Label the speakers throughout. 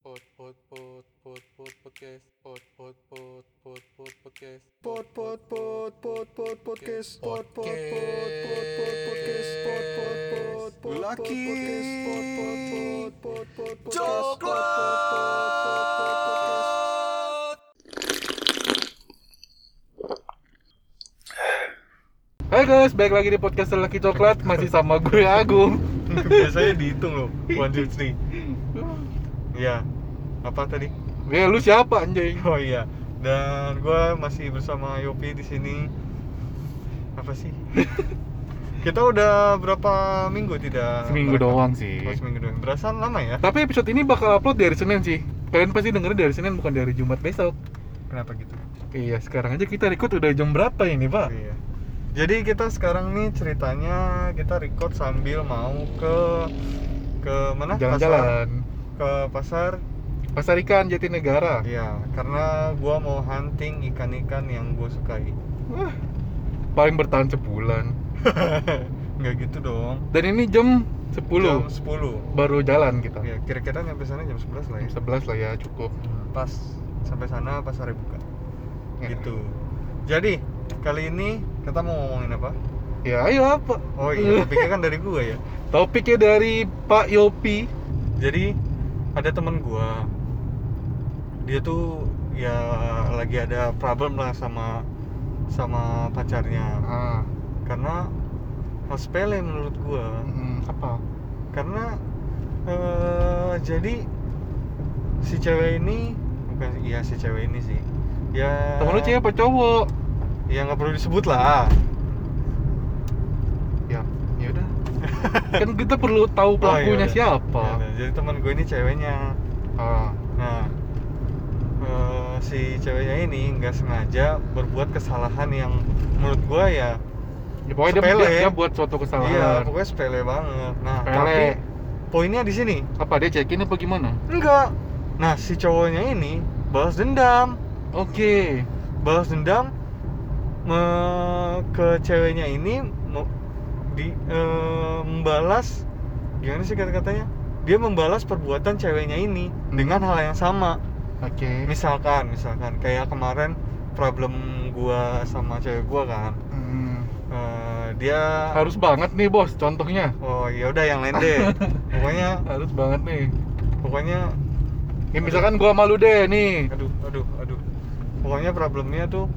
Speaker 1: Pod pod pod pod pod podcast. Pod pod pod pod pod podcast.
Speaker 2: Pod pod pod pod pod podcast pod pod pod pod pod podcast pod pod pod pod
Speaker 3: Lucky.
Speaker 2: pod pod pod pod pod podcast
Speaker 1: Hai guys, balik lagi di podcast Lelaki Coklat masih sama gue Agung.
Speaker 3: Biasanya dihitung loh, one two three. Iya. Apa tadi?
Speaker 1: Ya lu siapa anjing?
Speaker 3: Oh iya. Dan gua masih bersama Yopi di sini. Apa sih? Kita udah berapa minggu tidak?
Speaker 1: Seminggu
Speaker 3: merekam?
Speaker 1: doang sih.
Speaker 3: Oh, seminggu doang. Berasa lama ya?
Speaker 1: Tapi episode ini bakal upload dari Senin sih. Kalian pasti dengerin dari Senin bukan dari Jumat besok.
Speaker 3: Kenapa gitu?
Speaker 1: Iya, sekarang aja kita record udah jam berapa ini, Pak?
Speaker 3: Iya. Jadi kita sekarang nih ceritanya kita record sambil mau ke ke mana? Pasar.
Speaker 1: Jalan-jalan.
Speaker 3: Ke pasar
Speaker 1: Pasar ikan Jatinegara.
Speaker 3: Iya, karena gua mau hunting ikan-ikan yang gua sukai.
Speaker 1: Wah, paling bertahan sebulan.
Speaker 3: Nggak gitu dong.
Speaker 1: Dan ini jam 10
Speaker 3: Jam 10.
Speaker 1: baru jalan kita.
Speaker 3: Ya, kira-kira nyampe sana jam 11 lah ya.
Speaker 1: Iya,
Speaker 3: Hmm,
Speaker 1: Jam 11 lah ya cukup.
Speaker 3: Pas sampai sana pasar buka.
Speaker 1: Ya.
Speaker 3: Gitu. Jadi, kali ini kita mau ngomongin apa?
Speaker 1: Ya ayo apa?
Speaker 3: Oh iya, topiknya kan dari gua ya.
Speaker 1: Topiknya dari Pak Yopi.
Speaker 3: Jadi, ada teman gua. Dia tuh ya lagi ada problem lah sama sama pacarnya
Speaker 1: Ah,
Speaker 3: karena hal sepele menurut gua
Speaker 1: mm, apa?
Speaker 3: karena eh, jadi si cewek ini bukan iya si cewek ini sih ya
Speaker 1: Temen lu cewek apa cowok?
Speaker 3: ya nggak perlu disebut lah
Speaker 1: Ya, ya udah. kan kita perlu tahu pelakunya
Speaker 3: Oh, iya,
Speaker 1: siapa.
Speaker 3: Ya, jadi teman gue ini ceweknya
Speaker 1: Ah,
Speaker 3: nah eh, si ceweknya ini nggak sengaja berbuat kesalahan yang menurut gue ya
Speaker 1: ya, pokoknya dia-
Speaker 3: Sepele.
Speaker 1: dia, dia buat suatu
Speaker 3: iya
Speaker 1: kesalahan.
Speaker 3: pokoknya sepele banget nah tapi
Speaker 1: Sepele.
Speaker 3: poinnya di sini
Speaker 1: Apa dia cekin apa gimana?
Speaker 3: enggak nah si cowoknya ini balas dendam
Speaker 1: Oke.
Speaker 3: balas dendam me- ke ceweknya ini me- di eh, membalas gimana sih kata-katanya dia membalas perbuatan ceweknya ini dengan hal yang sama
Speaker 1: Oke.
Speaker 3: misalkan misalkan kayak kemarin problem gua sama cewek gua kan
Speaker 1: Hmm.
Speaker 3: Eh, dia
Speaker 1: Harus banget nih, Bos, contohnya.
Speaker 3: oh ya udah yang lain deh pokoknya
Speaker 1: Harus banget nih.
Speaker 3: pokoknya
Speaker 1: Ya misalkan gua malu deh nih.
Speaker 3: aduh aduh aduh pokoknya problemnya tuh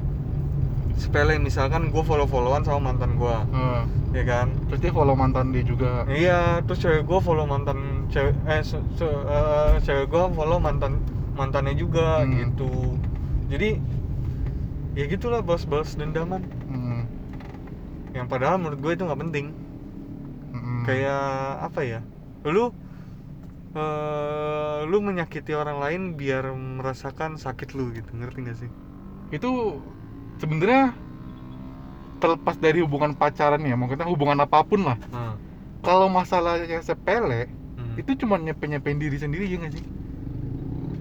Speaker 3: sepele misalkan gua follow followan sama mantan gua
Speaker 1: Ah,
Speaker 3: ya kan
Speaker 1: terus dia follow mantan dia juga.
Speaker 3: Iya, terus cewek gue follow mantan cewek eh se- se- eh, cewek gue follow mantan mantannya juga
Speaker 1: Hmm.
Speaker 3: gitu. Jadi ya gitulah balas-balas dendaman.
Speaker 1: Hmm.
Speaker 3: Yang padahal menurut gue itu nggak penting.
Speaker 1: Mm-mm.
Speaker 3: Kayak apa ya? Lu eh, lu menyakiti orang lain biar merasakan sakit lu gitu, ngerti gak sih?
Speaker 1: itu sebenarnya terlepas dari hubungan pacaran ya, maksudnya hubungan apapun lah.
Speaker 3: Nah,
Speaker 1: Kalau masalahnya sepele,
Speaker 3: hmm.
Speaker 1: itu cuma nyepe-nyepein diri sendiri ya nggak sih?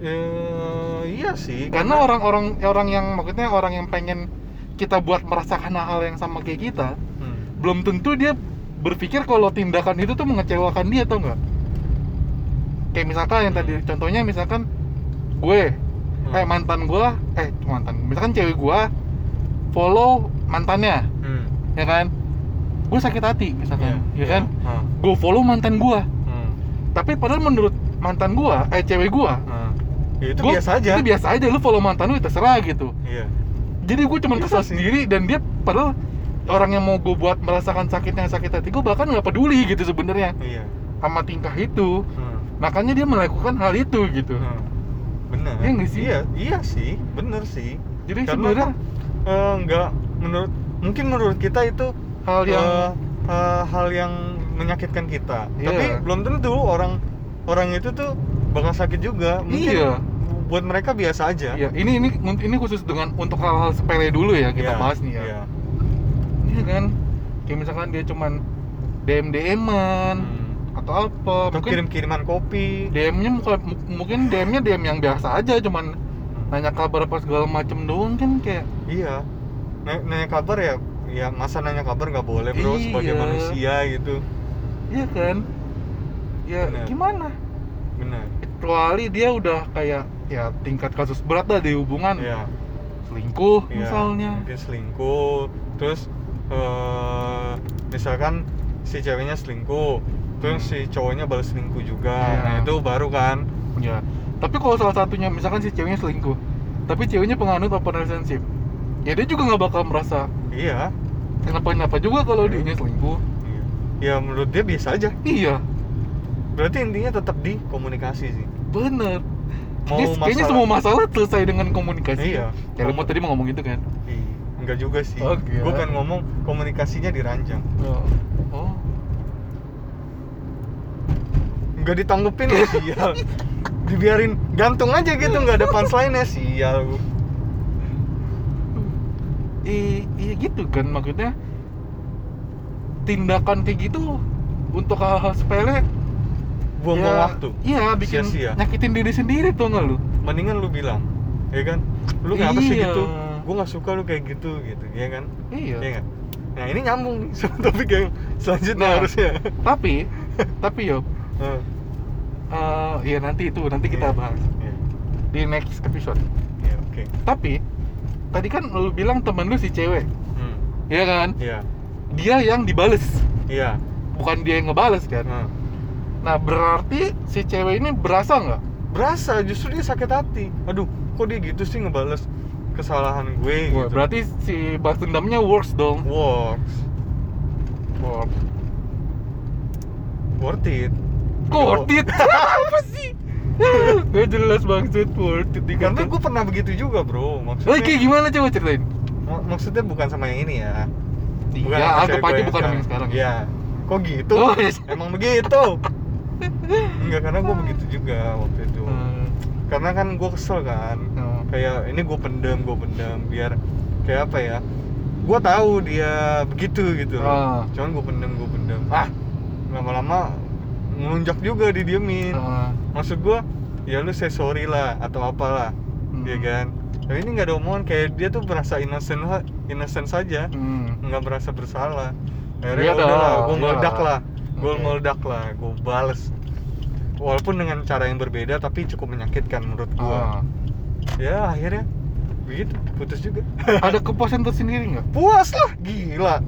Speaker 3: Eh, iya sih.
Speaker 1: Karena orang-orang orang yang maksudnya orang yang pengen kita buat merasakan hal yang sama kayak kita,
Speaker 3: Hmm.
Speaker 1: belum tentu dia berpikir kalau tindakan itu tuh mengecewakan dia atau enggak. Kayak misalkan yang tadi contohnya misalkan gue
Speaker 3: Hmm.
Speaker 1: eh mantan gue eh mantan misalkan cewek gue follow mantannya
Speaker 3: Hmm.
Speaker 1: ya kan gue sakit hati misalkan ya kan
Speaker 3: Nah,
Speaker 1: gue follow mantan gue
Speaker 3: hmm.
Speaker 1: tapi padahal menurut mantan gue eh cewek gue
Speaker 3: Nah. Ya, itu
Speaker 1: gua-
Speaker 3: biasa aja.
Speaker 1: itu biasa aja lu follow mantan lu ya terserah gitu
Speaker 3: Iya.
Speaker 1: jadi gue cuman
Speaker 3: Iya
Speaker 1: kesal
Speaker 3: sih.
Speaker 1: sendiri dan dia padahal orang yang mau gue buat merasakan sakitnya sakit hati gue bahkan nggak peduli gitu sebenarnya
Speaker 3: Iya.
Speaker 1: sama tingkah itu
Speaker 3: Hmm.
Speaker 1: makanya dia melakukan hal itu gitu
Speaker 3: Hmm. Bener.
Speaker 1: Iya nggak sih?
Speaker 3: Iya, iya sih, bener sih.
Speaker 1: jadi
Speaker 3: Karena
Speaker 1: sebenarnya
Speaker 3: Eh, nggak menurut mungkin menurut kita itu
Speaker 1: hal yang
Speaker 3: eh, eh, hal yang menyakitkan kita.
Speaker 1: Iya.
Speaker 3: Tapi belum tentu orang orang itu tuh bakal sakit juga. Mungkin
Speaker 1: Iya.
Speaker 3: buat mereka biasa aja.
Speaker 1: ya ini ini ini khusus dengan untuk hal-hal sepele dulu ya kita
Speaker 3: Iya,
Speaker 1: bahas nih ya
Speaker 3: iya.
Speaker 1: Iya kan? Kayak misalkan dia cuman DM DM-an
Speaker 3: Hmm.
Speaker 1: atau apa? Kan mungkin
Speaker 3: Atau
Speaker 1: Iya.
Speaker 3: kirim-kiriman kopi.
Speaker 1: DM-nya bukan- mu- mungkin DM-nya DM yang biasa aja cuman nanya kabar apa segala macem doang kan kayak
Speaker 3: Iya. Na- Nanya kabar ya, ya masa nanya kabar nggak boleh bro
Speaker 1: Iya.
Speaker 3: sebagai manusia gitu.
Speaker 1: iya kan? Ya
Speaker 3: Bener.
Speaker 1: gimana?
Speaker 3: Benar.
Speaker 1: It- kecuali dia udah kayak ya tingkat kasus berat lah di hubungan
Speaker 3: ya
Speaker 1: selingkuh
Speaker 3: Iya,
Speaker 1: misalnya
Speaker 3: mungkin selingkuh terus eh, misalkan si ceweknya selingkuh terus
Speaker 1: Hmm.
Speaker 3: si cowoknya balas selingkuh juga
Speaker 1: Iya.
Speaker 3: nah itu baru kan
Speaker 1: ya tapi kalau salah satunya misalkan si ceweknya selingkuh tapi ceweknya penganut open relationship ya dia juga nggak bakal merasa
Speaker 3: iya
Speaker 1: kenapa kenapa juga kalau
Speaker 3: Iya.
Speaker 1: dia selingkuh
Speaker 3: Iya. ya menurut dia biasa aja
Speaker 1: iya
Speaker 3: berarti intinya tetap di komunikasi sih
Speaker 1: bener
Speaker 3: mau
Speaker 1: Kayaknya- kayaknya
Speaker 3: masalah-
Speaker 1: semua masalah selesai dengan komunikasi
Speaker 3: Iya.
Speaker 1: ya lu mau tadi mau ngomong gitu kan
Speaker 3: Ih, enggak juga sih
Speaker 1: Oke.
Speaker 3: gue pengen ngomong komunikasinya dirancang
Speaker 1: oh, oh.
Speaker 3: nggak ditanggepin loh sial dibiarin gantung aja gitu nggak ada punchline nya sial gua.
Speaker 1: I- iya gitu kan maksudnya tindakan kayak gitu untuk hal-hal sepele
Speaker 3: buang-buang
Speaker 1: ya-
Speaker 3: waktu
Speaker 1: iya bikin
Speaker 3: Sia-sia.
Speaker 1: nyakitin diri sendiri tuh nggak lu
Speaker 3: mendingan lu bilang ya kan lu ngapa sih
Speaker 1: Iya.
Speaker 3: gitu gue nggak suka lu kayak gitu gitu ya kan
Speaker 1: iya
Speaker 3: ya kan nah ini nyambung nih sama topik yang selanjutnya
Speaker 1: Nah.
Speaker 3: harusnya
Speaker 1: tapi tapi yo
Speaker 3: Heeh.
Speaker 1: eh ya nanti itu nanti kita
Speaker 3: Iya.
Speaker 1: bahas
Speaker 3: Iya.
Speaker 1: di next episode
Speaker 3: Iya, oke
Speaker 1: tapi tadi kan lu bilang temen lu si cewek
Speaker 3: Hmm.
Speaker 1: ya kan
Speaker 3: iya
Speaker 1: dia yang dibales
Speaker 3: iya
Speaker 1: bukan dia yang ngebales kan
Speaker 3: Nah.
Speaker 1: nah berarti si cewek ini berasa nggak
Speaker 3: berasa justru dia sakit hati aduh kok dia gitu sih ngebales kesalahan gue
Speaker 1: Wah,
Speaker 3: gitu
Speaker 1: berarti si balas dendamnya works dong
Speaker 3: works
Speaker 1: works
Speaker 3: worth it
Speaker 1: worth it apa sih gak jelas banget worth it gitu.
Speaker 3: karena
Speaker 1: dikata
Speaker 3: gue pernah begitu juga bro
Speaker 1: Oke,
Speaker 3: maksudnya
Speaker 1: gimana coba ceritain?
Speaker 3: mak- maksudnya bukan sama yang ini ya Bukan
Speaker 1: Iya,
Speaker 3: sama
Speaker 1: anggap
Speaker 3: cewek
Speaker 1: aja
Speaker 3: gua
Speaker 1: bukan yang sekarang. ya?
Speaker 3: Iya. Kok gitu?
Speaker 1: Oh, iya. Oh.
Speaker 3: Emang begitu? Enggak, karena gue begitu juga waktu itu.
Speaker 1: Hmm,
Speaker 3: Karena kan gue kesel kan.
Speaker 1: hmm.
Speaker 3: Kayak ini gue pendem, gue pendem biar kayak apa ya? Gue tahu dia begitu
Speaker 1: Ah.
Speaker 3: gitu loh. Cuman gue pendem, gue pendem. Ah, lama-lama ngelunjak juga didiemin.
Speaker 1: Ah.
Speaker 3: Maksud gue, ya lu say sorry lah atau apalah.
Speaker 1: Hmm.
Speaker 3: Iya kan? Tapi ini nggak ada omongan kayak dia tuh merasa innocent innocent saja
Speaker 1: Hmm.
Speaker 3: nggak merasa bersalah
Speaker 1: Iya
Speaker 3: akhirnya ya udah lah
Speaker 1: dong,
Speaker 3: gue
Speaker 1: iya
Speaker 3: meledak
Speaker 1: lah.
Speaker 3: lah gue
Speaker 1: Oke.
Speaker 3: meledak lah gue bales walaupun dengan cara yang berbeda tapi cukup menyakitkan menurut gue
Speaker 1: Ah.
Speaker 3: ya akhirnya begitu putus juga
Speaker 1: Ada kepuasan tersendiri nggak?
Speaker 3: puas lah gila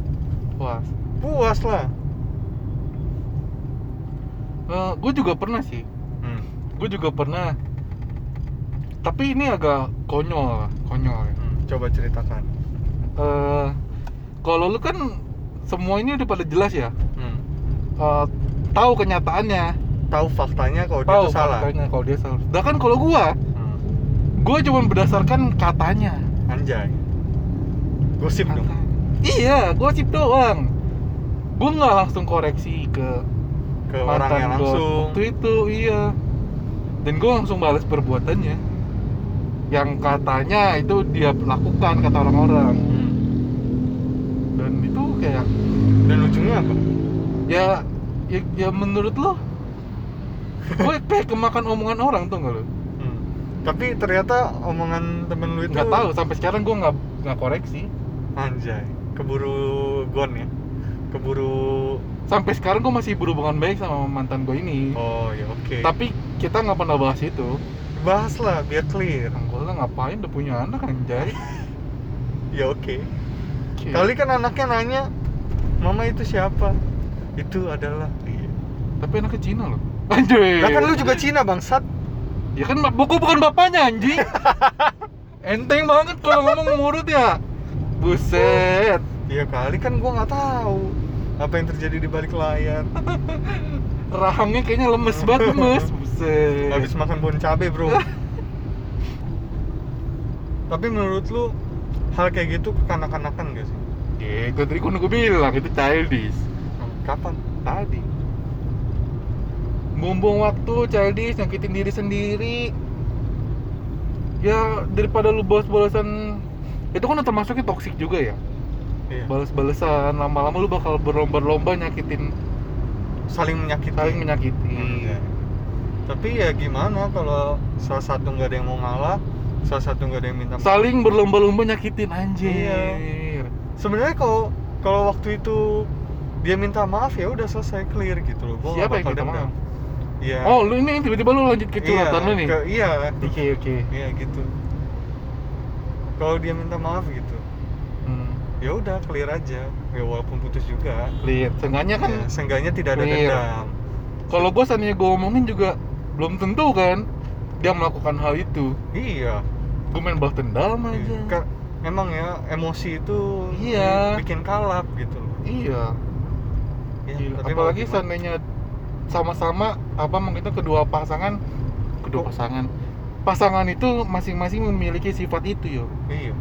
Speaker 1: Puas.
Speaker 3: puas lah
Speaker 1: gue Eh, juga pernah sih.
Speaker 3: hmm.
Speaker 1: Gue juga pernah. Tapi ini agak konyol, konyol. ya.
Speaker 3: hmm, coba ceritakan
Speaker 1: Eh, kalau lu kan semua ini udah pada jelas ya.
Speaker 3: hmm.
Speaker 1: Eh, tahu kenyataannya,
Speaker 3: tahu faktanya kalau dia
Speaker 1: tahu
Speaker 3: tuh salah
Speaker 1: faktanya kalau dia salah. Sedangkan kalau gua,
Speaker 3: Hmm.
Speaker 1: gua cuma berdasarkan katanya.
Speaker 3: anjay gosip dong
Speaker 1: Kata- Iya, gosip doang. Gue nggak langsung koreksi ke
Speaker 3: ke orangnya
Speaker 1: mantan gua
Speaker 3: langsung
Speaker 1: Waktu itu iya. Dan gue langsung balas perbuatannya. Yang katanya itu dia lakukan kata orang-orang.
Speaker 3: Hmm.
Speaker 1: Dan itu kayak
Speaker 3: dan lucunya apa
Speaker 1: ya ya, ya menurut lo gue kayak kemakan omongan orang tuh nggak lo?
Speaker 3: Hmm. tapi ternyata omongan temen lu itu
Speaker 1: Nggak tahu sampai sekarang gue nggak nggak koreksi.
Speaker 3: Anjay, keburu gon ya? Keburu...
Speaker 1: Sampai sekarang gue masih berhubungan baik sama mantan gue ini.
Speaker 3: Oh ya oke
Speaker 1: Tapi kita nggak pernah bahas itu.
Speaker 3: Bahaslah biar clear
Speaker 1: Anggolnya ngapain udah punya anak anjay.
Speaker 3: Ya oke Kali kan anaknya nanya Mama itu siapa? Itu adalah Iya
Speaker 1: Tapi anaknya Cina loh. Anjay.
Speaker 3: Lah kan lu juga Cina bangsat
Speaker 1: Ya kan bap- buku bukan bapaknya anjing. Enteng banget kalau ngomong murut ya. Buset.
Speaker 3: Ya kali kan gua nggak tahu Apa yang terjadi di balik layar
Speaker 1: Rahangnya kayaknya lemes banget, lemes. Buset.
Speaker 3: Habis makan bon cabe bro Tapi menurut lu Hal kayak gitu kekanak-kanakan gak sih?
Speaker 1: Ya, itu tadi kan gue bilang itu childish.
Speaker 3: Kapan?
Speaker 1: Tadi. Bumbung waktu childish nyakitin diri sendiri. Ya daripada lu balas-balasan itu kan termasuknya toksik juga ya.
Speaker 3: Iya.
Speaker 1: Balas-balasan lama-lama lu bakal berlomba-lomba nyakitin,
Speaker 3: Saling menyakiti
Speaker 1: saling menyakiti.
Speaker 3: Iya. Tapi ya gimana kalau salah satu nggak ada yang mau ngalah, salah satu nggak ada yang minta. maaf.
Speaker 1: saling berlomba-lomba nyakitin anjir
Speaker 3: Iya. Sebenarnya kalau kalau waktu itu dia minta maaf ya udah selesai clear gitu loh. Gua nggak
Speaker 1: siapa yang
Speaker 3: bakal
Speaker 1: minta
Speaker 3: dendam.
Speaker 1: maaf
Speaker 3: Ya Iya.
Speaker 1: Oh, lu ini tiba-tiba lu lanjut ke curhatan
Speaker 3: Iya,
Speaker 1: lu nih.
Speaker 3: ke- iya.
Speaker 1: Oke, oke.
Speaker 3: Iya gitu. Kalau dia minta maaf gitu,
Speaker 1: Hmm,
Speaker 3: ya udah clear aja. Ya walaupun putus juga.
Speaker 1: Clear. Seenggaknya kan
Speaker 3: Ya, seenggaknya tidak ada
Speaker 1: clear.
Speaker 3: dendam.
Speaker 1: kalau gua seandainya gua omongin juga belum tentu kan dia melakukan hal itu.
Speaker 3: Iya.
Speaker 1: Gua main balas dendam aja.
Speaker 3: Iya. Ka- Emang ya emosi itu
Speaker 1: Iya.
Speaker 3: bikin kalap gitu. loh.
Speaker 1: Iya.
Speaker 3: Ya,
Speaker 1: Gila.
Speaker 3: tapi mau
Speaker 1: Apalagi
Speaker 3: gimana?
Speaker 1: seandainya sama-sama apa mungkin itu kedua pasangan
Speaker 3: Oh.
Speaker 1: kedua pasangan pasangan itu masing-masing memiliki sifat itu yo
Speaker 3: Iya.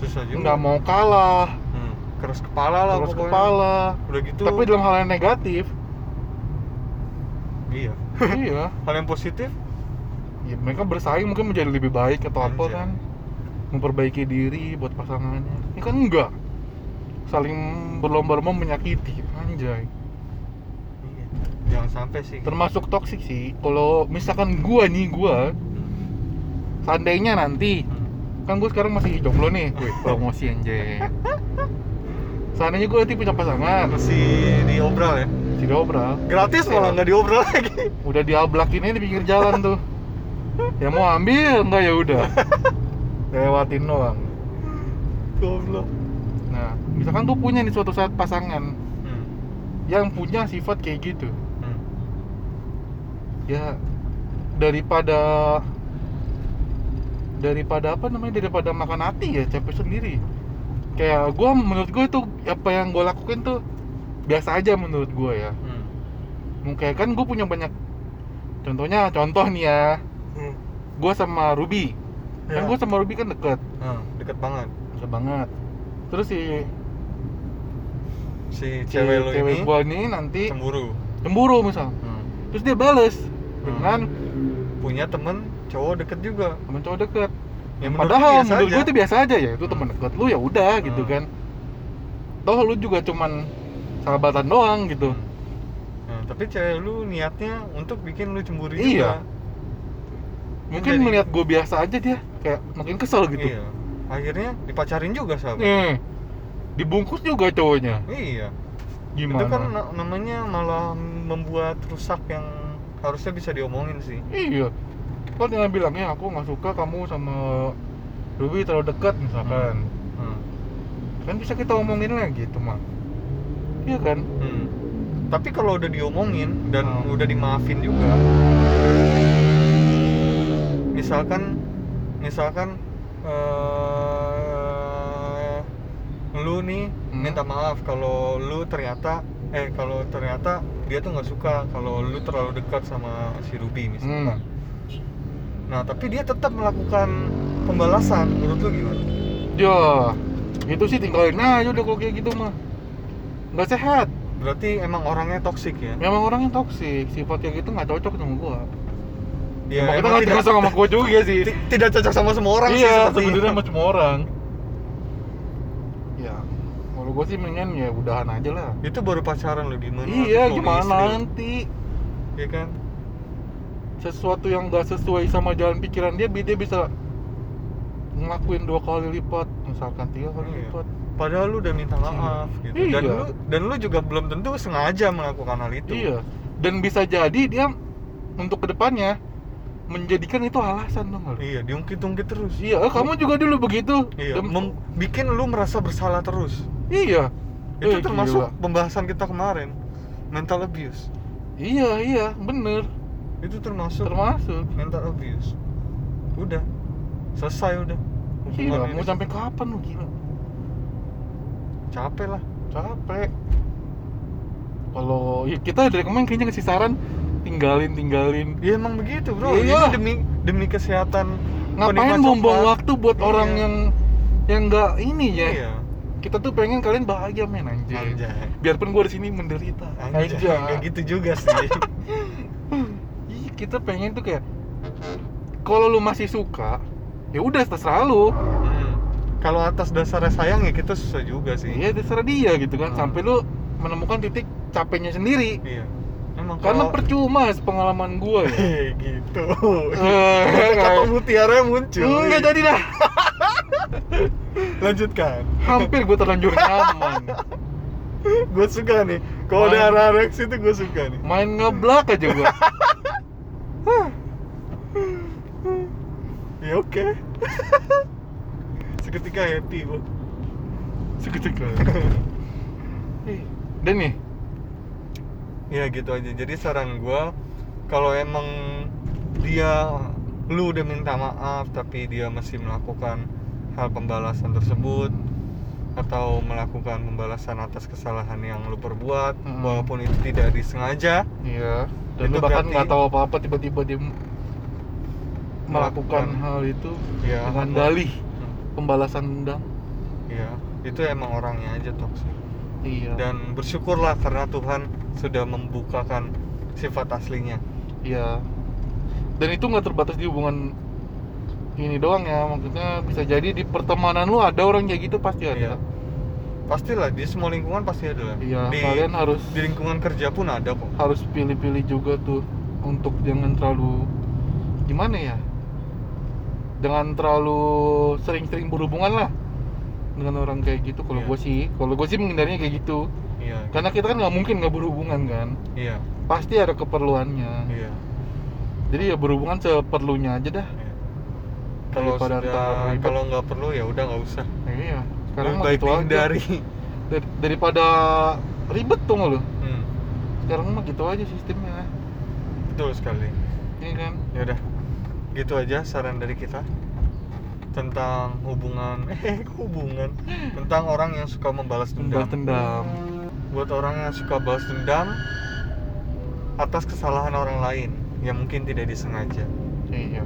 Speaker 3: Susah juga.
Speaker 1: nggak mau kalah
Speaker 3: Hmm, Keras kepala
Speaker 1: terus
Speaker 3: lah Iya. pokoknya.
Speaker 1: kepala
Speaker 3: Udah gitu.
Speaker 1: tapi dalam hal yang negatif
Speaker 3: Iya.
Speaker 1: iya
Speaker 3: Hal yang positif?
Speaker 1: ya, mereka bersaing mungkin menjadi lebih baik atau apa
Speaker 3: Anjay.
Speaker 1: kan memperbaiki diri buat pasangannya ya kan enggak saling berlomba-lomba menyakiti anjay
Speaker 3: Iya. Jangan sampai sih.
Speaker 1: termasuk toksik sih kalau misalkan gua nih gua seandainya nanti
Speaker 3: Hmm.
Speaker 1: kan gue sekarang masih jomblo nih Wih, promosi anjay seandainya gue nanti punya pasangan
Speaker 3: Masih diobral ya.
Speaker 1: si Dobra
Speaker 3: Gratis
Speaker 1: Iya.
Speaker 3: malah nggak diobral lagi.
Speaker 1: udah diablakin aja di pinggir jalan tuh ya mau ambil enggak ya udah lewatin doang
Speaker 3: Goblok.
Speaker 1: nah misalkan gue punya nih suatu saat pasangan
Speaker 3: Hmm.
Speaker 1: yang punya sifat kayak gitu
Speaker 3: Hmm.
Speaker 1: ya daripada daripada apa namanya daripada makan hati ya capek sendiri kayak gua menurut gue itu apa yang gue lakuin tuh biasa aja menurut gue ya
Speaker 3: Hmm.
Speaker 1: mungkin kan gue punya banyak contohnya contoh nih ya
Speaker 3: Hmm.
Speaker 1: gue sama Ruby kan gue sama Ruby kan deket
Speaker 3: Ya. Hmm, deket banget.
Speaker 1: deket banget terus si
Speaker 3: Si
Speaker 1: si
Speaker 3: cewek lo
Speaker 1: cewek
Speaker 3: ini
Speaker 1: gue ini nanti
Speaker 3: cemburu.
Speaker 1: cemburu misal
Speaker 3: Hmm.
Speaker 1: terus dia bales dengan
Speaker 3: Punya temen cowok deket juga. Ya,
Speaker 1: temen cowok deket
Speaker 3: Yang
Speaker 1: padahal menurut gue itu biasa aja ya itu
Speaker 3: Hmm.
Speaker 1: temen deket lu ya udah gitu
Speaker 3: Hmm.
Speaker 1: kan toh lu juga cuman sahabatan doang gitu
Speaker 3: Hmm. Nah, tapi cewek lu niatnya untuk bikin lu cemburu
Speaker 1: Iya.
Speaker 3: juga.
Speaker 1: mungkin
Speaker 3: Jadi-
Speaker 1: melihat gue biasa aja dia kayak makin kesel gitu Iya.
Speaker 3: Iya. Akhirnya dipacarin juga sahabat.
Speaker 1: nih dibungkus juga cowoknya
Speaker 3: Iya.
Speaker 1: gimana
Speaker 3: Itu kan na- namanya malah membuat rusak yang harusnya bisa diomongin sih.
Speaker 1: Iya. Kan dengan bilangnya aku nggak suka kamu sama Ruby terlalu dekat misalkan.
Speaker 3: Hmm.
Speaker 1: Kan bisa kita omongin lagi itu mah. Iya kan?
Speaker 3: Hmm. Tapi kalau udah diomongin dan
Speaker 1: Hmm.
Speaker 3: udah dimaafin juga. Misalkan misalkan eh lu nih
Speaker 1: Hmm.
Speaker 3: minta maaf kalau lu ternyata eh kalau ternyata dia tuh nggak suka kalau lu terlalu dekat sama si Ruby misalkan.
Speaker 1: Hmm.
Speaker 3: Nah, tapi dia tetap melakukan pembalasan. Menurut lu gimana?
Speaker 1: Ya, itu sih tinggalin aja udah kalau kayak gitu mah. Nggak sehat.
Speaker 3: Berarti emang orangnya toksik ya?
Speaker 1: Memang orangnya toksik, sifat kayak gitu nggak cocok sama gua.
Speaker 3: Iya,
Speaker 1: Emang kita
Speaker 3: emang
Speaker 1: nggak cocok sama gua juga sih.
Speaker 3: ti- tidak cocok sama semua orang sih
Speaker 1: iya,
Speaker 3: seperti
Speaker 1: sebenarnya sama semua orang. Ya,
Speaker 3: Iya.
Speaker 1: kalau gua sih mendingan ya udahan aja lah.
Speaker 3: itu baru pacaran lo gimana
Speaker 1: Iya,
Speaker 3: Suami
Speaker 1: gimana
Speaker 3: istri,
Speaker 1: nanti?
Speaker 3: ya kan
Speaker 1: sesuatu yang gak sesuai sama jalan pikiran dia bi- dia bisa ngelakuin dua kali lipat misalkan tiga kali
Speaker 3: Iya.
Speaker 1: lipat
Speaker 3: padahal lu udah minta maaf gitu dan
Speaker 1: Iya.
Speaker 3: lu dan lu juga belum tentu sengaja melakukan hal itu
Speaker 1: iya dan bisa jadi dia untuk kedepannya menjadikan itu alasan dong
Speaker 3: iya diungkit-ungkit terus
Speaker 1: iya eh, kamu juga dulu begitu
Speaker 3: iya
Speaker 1: Dan-
Speaker 3: mem- bikin lu merasa bersalah terus
Speaker 1: iya
Speaker 3: itu
Speaker 1: Eh,
Speaker 3: termasuk
Speaker 1: gila.
Speaker 3: pembahasan kita kemarin mental abuse
Speaker 1: iya iya bener
Speaker 3: itu termasuk
Speaker 1: termasuk
Speaker 3: mental abuse udah selesai udah
Speaker 1: gila
Speaker 3: ini
Speaker 1: Iya, mau sampai kapan lu gila
Speaker 3: capek lah
Speaker 1: capek kalau ya kita dari kemarin kayaknya ngasih saran tinggalin tinggalin
Speaker 3: Iya emang begitu bro.
Speaker 1: Iya.
Speaker 3: Ini demi demi kesehatan.
Speaker 1: ngapain
Speaker 3: penikmat
Speaker 1: buang-buang
Speaker 3: coklat.
Speaker 1: waktu buat
Speaker 3: Iya.
Speaker 1: orang yang yang nggak ini ya
Speaker 3: Iya.
Speaker 1: kita tuh pengen kalian bahagia men anjay,
Speaker 3: Anjay.
Speaker 1: biarpun gue di sini menderita
Speaker 3: Anjay. Nggak gitu juga sih.
Speaker 1: Ih, kita pengen tuh kayak kalau lu masih suka ya udah terserah lu
Speaker 3: Hmm. Kalau atas dasarnya sayang ya kita susah juga sih.
Speaker 1: ya terserah dia gitu kan
Speaker 3: Hmm.
Speaker 1: sampai lu menemukan titik capeknya sendiri
Speaker 3: Iya. Emang
Speaker 1: karena
Speaker 3: kalau-
Speaker 1: percuma pengalaman gue ya
Speaker 3: Eh, gitu.
Speaker 1: Eh,
Speaker 3: Kata
Speaker 1: kayak-
Speaker 3: mutiara muncul. Iya.
Speaker 1: nggak jadi dah
Speaker 3: Lanjutkan.
Speaker 1: hampir gue terlanjur nyaman
Speaker 3: Gue suka nih. Kalau
Speaker 1: Main.
Speaker 3: ada arah-arah situ gue suka nih.
Speaker 1: main ngeblak aja gue
Speaker 3: ya oke seketika happy gua
Speaker 1: seketika Eh, dan nih
Speaker 3: ya gitu aja jadi saran gua kalau emang dia lu udah minta maaf tapi dia masih melakukan hal pembalasan tersebut atau melakukan pembalasan atas kesalahan yang lu perbuat
Speaker 1: Hmm.
Speaker 3: walaupun itu tidak disengaja
Speaker 1: iya dan
Speaker 3: Itu
Speaker 1: lu bahkan
Speaker 3: berarti-
Speaker 1: nggak tahu apa-apa tiba-tiba dia m- melakukan
Speaker 3: Melakukan.
Speaker 1: hal itu
Speaker 3: ya
Speaker 1: dengan
Speaker 3: atau-
Speaker 1: dalih
Speaker 3: Hmm,
Speaker 1: pembalasan dendam
Speaker 3: ya itu emang orangnya aja toksik
Speaker 1: iya
Speaker 3: dan bersyukurlah karena Tuhan sudah membukakan sifat aslinya
Speaker 1: Iya. Dan itu nggak terbatas di hubungan ini doang ya, maksudnya bisa jadi di pertemanan lu ada orang kayak gitu pasti
Speaker 3: Iya.
Speaker 1: ada.
Speaker 3: pastilah di semua lingkungan pasti ada lah
Speaker 1: Iya,
Speaker 3: di,
Speaker 1: kalian harus
Speaker 3: di lingkungan kerja pun ada kok
Speaker 1: harus pilih-pilih juga tuh untuk jangan terlalu gimana ya? Jangan terlalu sering-sering berhubungan lah dengan orang kayak gitu. Kalau
Speaker 3: Iya.
Speaker 1: gue sih, kalau gue sih menghindarinya kayak gitu.
Speaker 3: iya
Speaker 1: Karena kita kan nggak mungkin nggak berhubungan kan,
Speaker 3: iya
Speaker 1: pasti ada keperluannya.
Speaker 3: iya
Speaker 1: Jadi ya berhubungan seperlunya aja dah.
Speaker 3: iya. kalau
Speaker 1: Daripada
Speaker 3: sudah
Speaker 1: ntar ribet.
Speaker 3: kalau nggak perlu ya udah nggak usah
Speaker 1: Iya. Sekarang
Speaker 3: Lebih
Speaker 1: mah
Speaker 3: baik
Speaker 1: gitu aja.
Speaker 3: dari
Speaker 1: Dar- daripada ribet tuh nggak lu
Speaker 3: Hmm,
Speaker 1: sekarang mah gitu aja sistemnya
Speaker 3: betul sekali
Speaker 1: iya kan
Speaker 3: ya udah gitu aja saran dari kita tentang hubungan eh hubungan tentang orang yang suka membalas
Speaker 1: membalas dendam
Speaker 3: dendam buat orang yang suka balas dendam atas kesalahan orang lain yang mungkin tidak disengaja.
Speaker 1: iya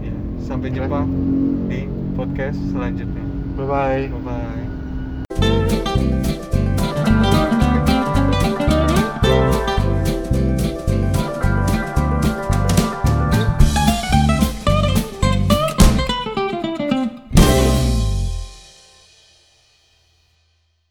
Speaker 3: Ya, Sampai
Speaker 1: Oke.
Speaker 3: jumpa di podcast selanjutnya.
Speaker 1: bye bye
Speaker 3: Bye bye.